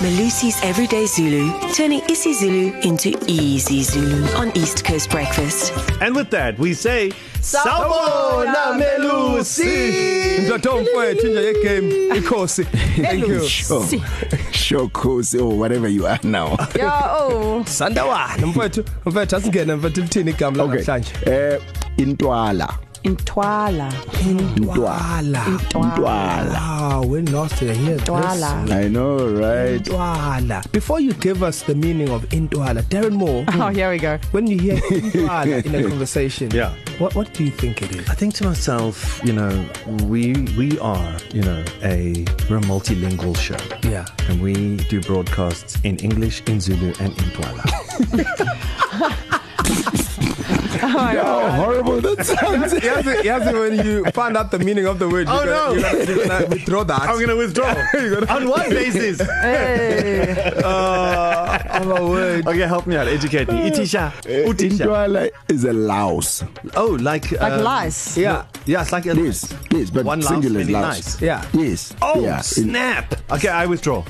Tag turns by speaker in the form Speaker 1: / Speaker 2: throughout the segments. Speaker 1: Malusi's Everyday Zulu, turning isiZulu into easy Zulu on East Coast Breakfast.
Speaker 2: And with that, we say
Speaker 3: Sawubona, Melusi.
Speaker 2: Mzwato mfowethu, change your game. Ikhosi. Thank you.
Speaker 4: Sure. Sure, course, or whatever you are now.
Speaker 3: Yeah, oh.
Speaker 2: Sandawana mfowethu, mfowethu asingene mfowethu lithini igama lanamhlanje.
Speaker 4: Eh intwala.
Speaker 3: Intwala.
Speaker 4: Intwala. Intwala.
Speaker 2: Ah, we lost it here.
Speaker 3: Intwala.
Speaker 4: I know, right?
Speaker 2: Intwala. Before you give us the meaning of intwala, Darren Moore,
Speaker 3: Oh, here we go.
Speaker 2: when you hear intwala in a conversation,
Speaker 5: Yeah.
Speaker 2: what what do you think it is?
Speaker 5: I think to myself, you know, we we are, you know, a we're a multilingual show.
Speaker 2: Yeah.
Speaker 5: And we do broadcasts in English, in Zulu, and in Twala.
Speaker 4: How horrible that sounds.
Speaker 2: Yazi, yazi when you find out the meaning of the word,
Speaker 5: Oh,
Speaker 2: you're
Speaker 5: no.
Speaker 2: gonna, you're gonna withdraw that.
Speaker 5: going to withdraw. On what basis?
Speaker 3: Hey.
Speaker 2: I'm a word.
Speaker 5: okay, help me out. Educate me. Itisha.
Speaker 4: Uh,
Speaker 5: Utisha.
Speaker 4: Eh, Intwala is a louse.
Speaker 5: Oh, like
Speaker 3: Like
Speaker 5: um,
Speaker 3: lice.
Speaker 2: Yeah.
Speaker 5: Yeah, it's like a
Speaker 4: Yes, yes, but
Speaker 5: One louse,
Speaker 4: singular is
Speaker 5: many
Speaker 4: louse.
Speaker 5: lice.
Speaker 2: Yeah.
Speaker 4: Yes.
Speaker 5: Oh,
Speaker 4: yeah. In-
Speaker 5: snap. Okay, I withdraw.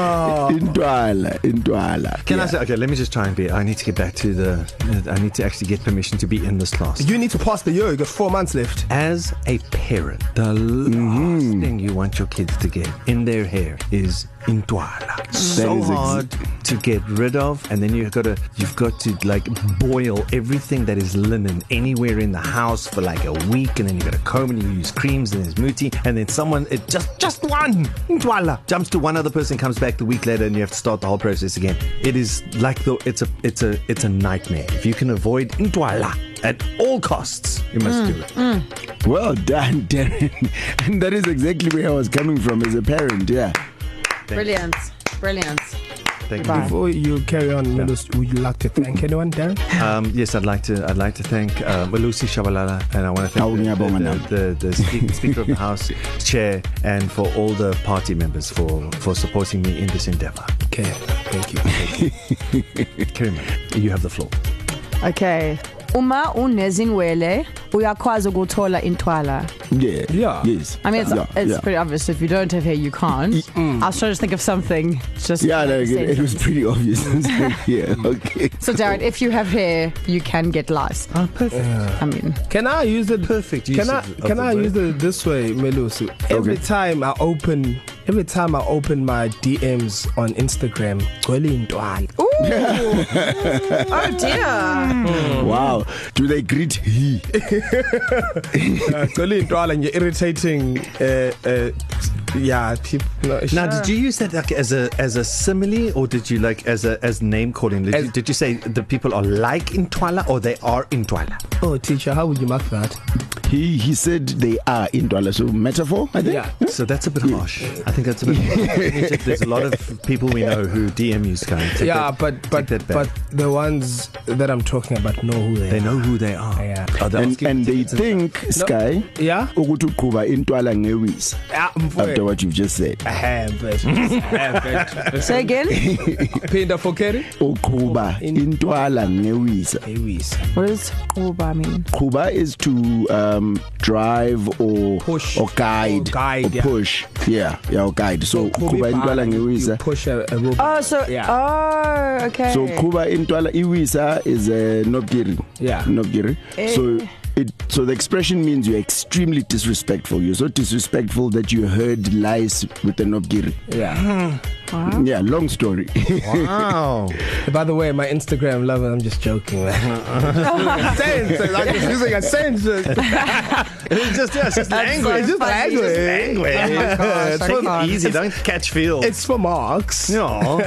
Speaker 4: Intwala. Intwala.
Speaker 5: Can
Speaker 4: yeah.
Speaker 5: I say okay, let me just try and be I need to get back to the I need to actually get permission to be in this class.
Speaker 2: You need to pass the year. You got four months left.
Speaker 5: As a parent, the last mm-hmm. thing you want your kids to get in their hair is intwala. so
Speaker 4: is ex-
Speaker 5: hard to get rid of, and then you've got to you've got to like boil everything that is linen anywhere in the house for like a week, and then you got to comb and you use creams and there's muti, and then someone it just just one intwala jumps to one other person, comes back the week later, and you have to start the whole process again. It is like the it's a it's a it's a nightmare. If you can avoid intwala at all costs, you must mm. do it.
Speaker 4: Well done, Darren. And that is exactly where I was coming from as a parent. Yeah.
Speaker 3: Brilliant. Brilliant.
Speaker 5: Thank you.
Speaker 3: Goodbye.
Speaker 2: Before you carry on, Melos, would you like to thank anyone, Darren?
Speaker 5: Um, yes, I'd like to. I'd like to thank uh, Malusi Shabalala, and I want to thank the,
Speaker 4: Ngiyabonga
Speaker 5: the, the, the, the speak, Speaker of the House, Chair, and for all the party members for for supporting me in this endeavour.
Speaker 2: Okay, thank you. Thank you.
Speaker 5: Kerima, you have the floor.
Speaker 3: Okay. Uma unezinwele uyakwazi ukuthola intwala.
Speaker 4: Yeah.
Speaker 2: Yeah.
Speaker 4: Yes.
Speaker 3: I mean it's
Speaker 4: yeah.
Speaker 3: yeah, it's
Speaker 4: yeah.
Speaker 3: yeah. pretty obvious if you don't have hair you can't. Mm. I was trying to think of something just
Speaker 4: Yeah, no, it, it was
Speaker 3: sentence.
Speaker 4: pretty obvious. yeah, okay.
Speaker 3: So Darren, if you have hair, you can get lice.
Speaker 5: Oh, perfect.
Speaker 3: I mean,
Speaker 2: Can I use it?
Speaker 5: Perfect use
Speaker 2: Can I
Speaker 5: of- of
Speaker 2: can
Speaker 5: the
Speaker 2: I
Speaker 5: word.
Speaker 2: use it this way, Melos? Every time I open, every time I open my DMs on Instagram, Gweli Ntwala.
Speaker 3: ooh. oh dear.
Speaker 4: Wow. Do they greet he?
Speaker 2: Gweli Uh, Ntwala, and you're irritating. Uh, uh, yeah, people. No,
Speaker 5: Now, did you use that like as a as a simile, or did you like as a as name calling? Did,
Speaker 2: As-
Speaker 5: you, did you say the people are like in Twala or they are in Twala?
Speaker 2: oh, teacher, how would you mark that?
Speaker 4: He he said they are in Dwala. So metaphor, I think.
Speaker 2: Yeah.
Speaker 5: So that's a bit harsh. I think that's a bit. harsh. There's a lot of people we know who DM you, Sky. Take
Speaker 2: yeah,
Speaker 5: that,
Speaker 2: but but
Speaker 5: take that back.
Speaker 2: but the ones that I'm talking about know who they,
Speaker 5: They
Speaker 2: are.
Speaker 5: know who they are.
Speaker 2: Yeah.
Speaker 5: Are they
Speaker 4: And
Speaker 5: asking
Speaker 4: and they
Speaker 5: tickets
Speaker 4: think Sky
Speaker 2: Yeah.
Speaker 4: ukuthi uqhuba intwala ngewis
Speaker 2: Ah, mfowethu.
Speaker 4: after what you've just said.
Speaker 3: Say again.
Speaker 2: Phinda fokeri.
Speaker 4: Uqhuba intwala ngewis.
Speaker 2: Lewis.
Speaker 3: what does kuba mean?
Speaker 4: Qhuba is to um drive or
Speaker 2: Push.
Speaker 4: or guide
Speaker 2: Or guide,
Speaker 4: or
Speaker 2: yeah.
Speaker 4: push. Yeah, yeah, or guide. So qhuba intwala ngewis.
Speaker 2: Push a, a robot.
Speaker 3: Oh, so
Speaker 2: Yeah.
Speaker 3: yeah. oh, okay.
Speaker 4: So qhuba intwala iwisa is eh, a nobgiri.
Speaker 2: Yeah.
Speaker 4: Nobgiri.
Speaker 3: Eh.
Speaker 4: So it so the expression means you're extremely disrespectful. You're so disrespectful that you heard lies with the nobgiri.
Speaker 2: Yeah.
Speaker 4: Yeah, long story.
Speaker 5: Wow.
Speaker 2: By the way, my Instagram lover, I'm just joking, man. sense, like it's using a sense.
Speaker 5: it's just, yeah, it's just
Speaker 3: so
Speaker 5: language.
Speaker 2: It's just
Speaker 3: funny.
Speaker 2: language.
Speaker 5: language.
Speaker 3: gosh, I
Speaker 2: Oh
Speaker 5: Take
Speaker 3: can't.
Speaker 5: it easy. Don't catch feels.
Speaker 2: It's for marks.
Speaker 5: no. All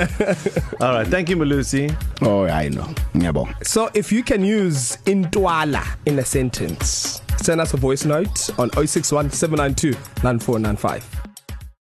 Speaker 5: right. Thank you, Malusi.
Speaker 4: oh, I know. Ngiyabonga.
Speaker 2: So if you can use intwala oh in a sentence, send us a voice note on 061 792 9495.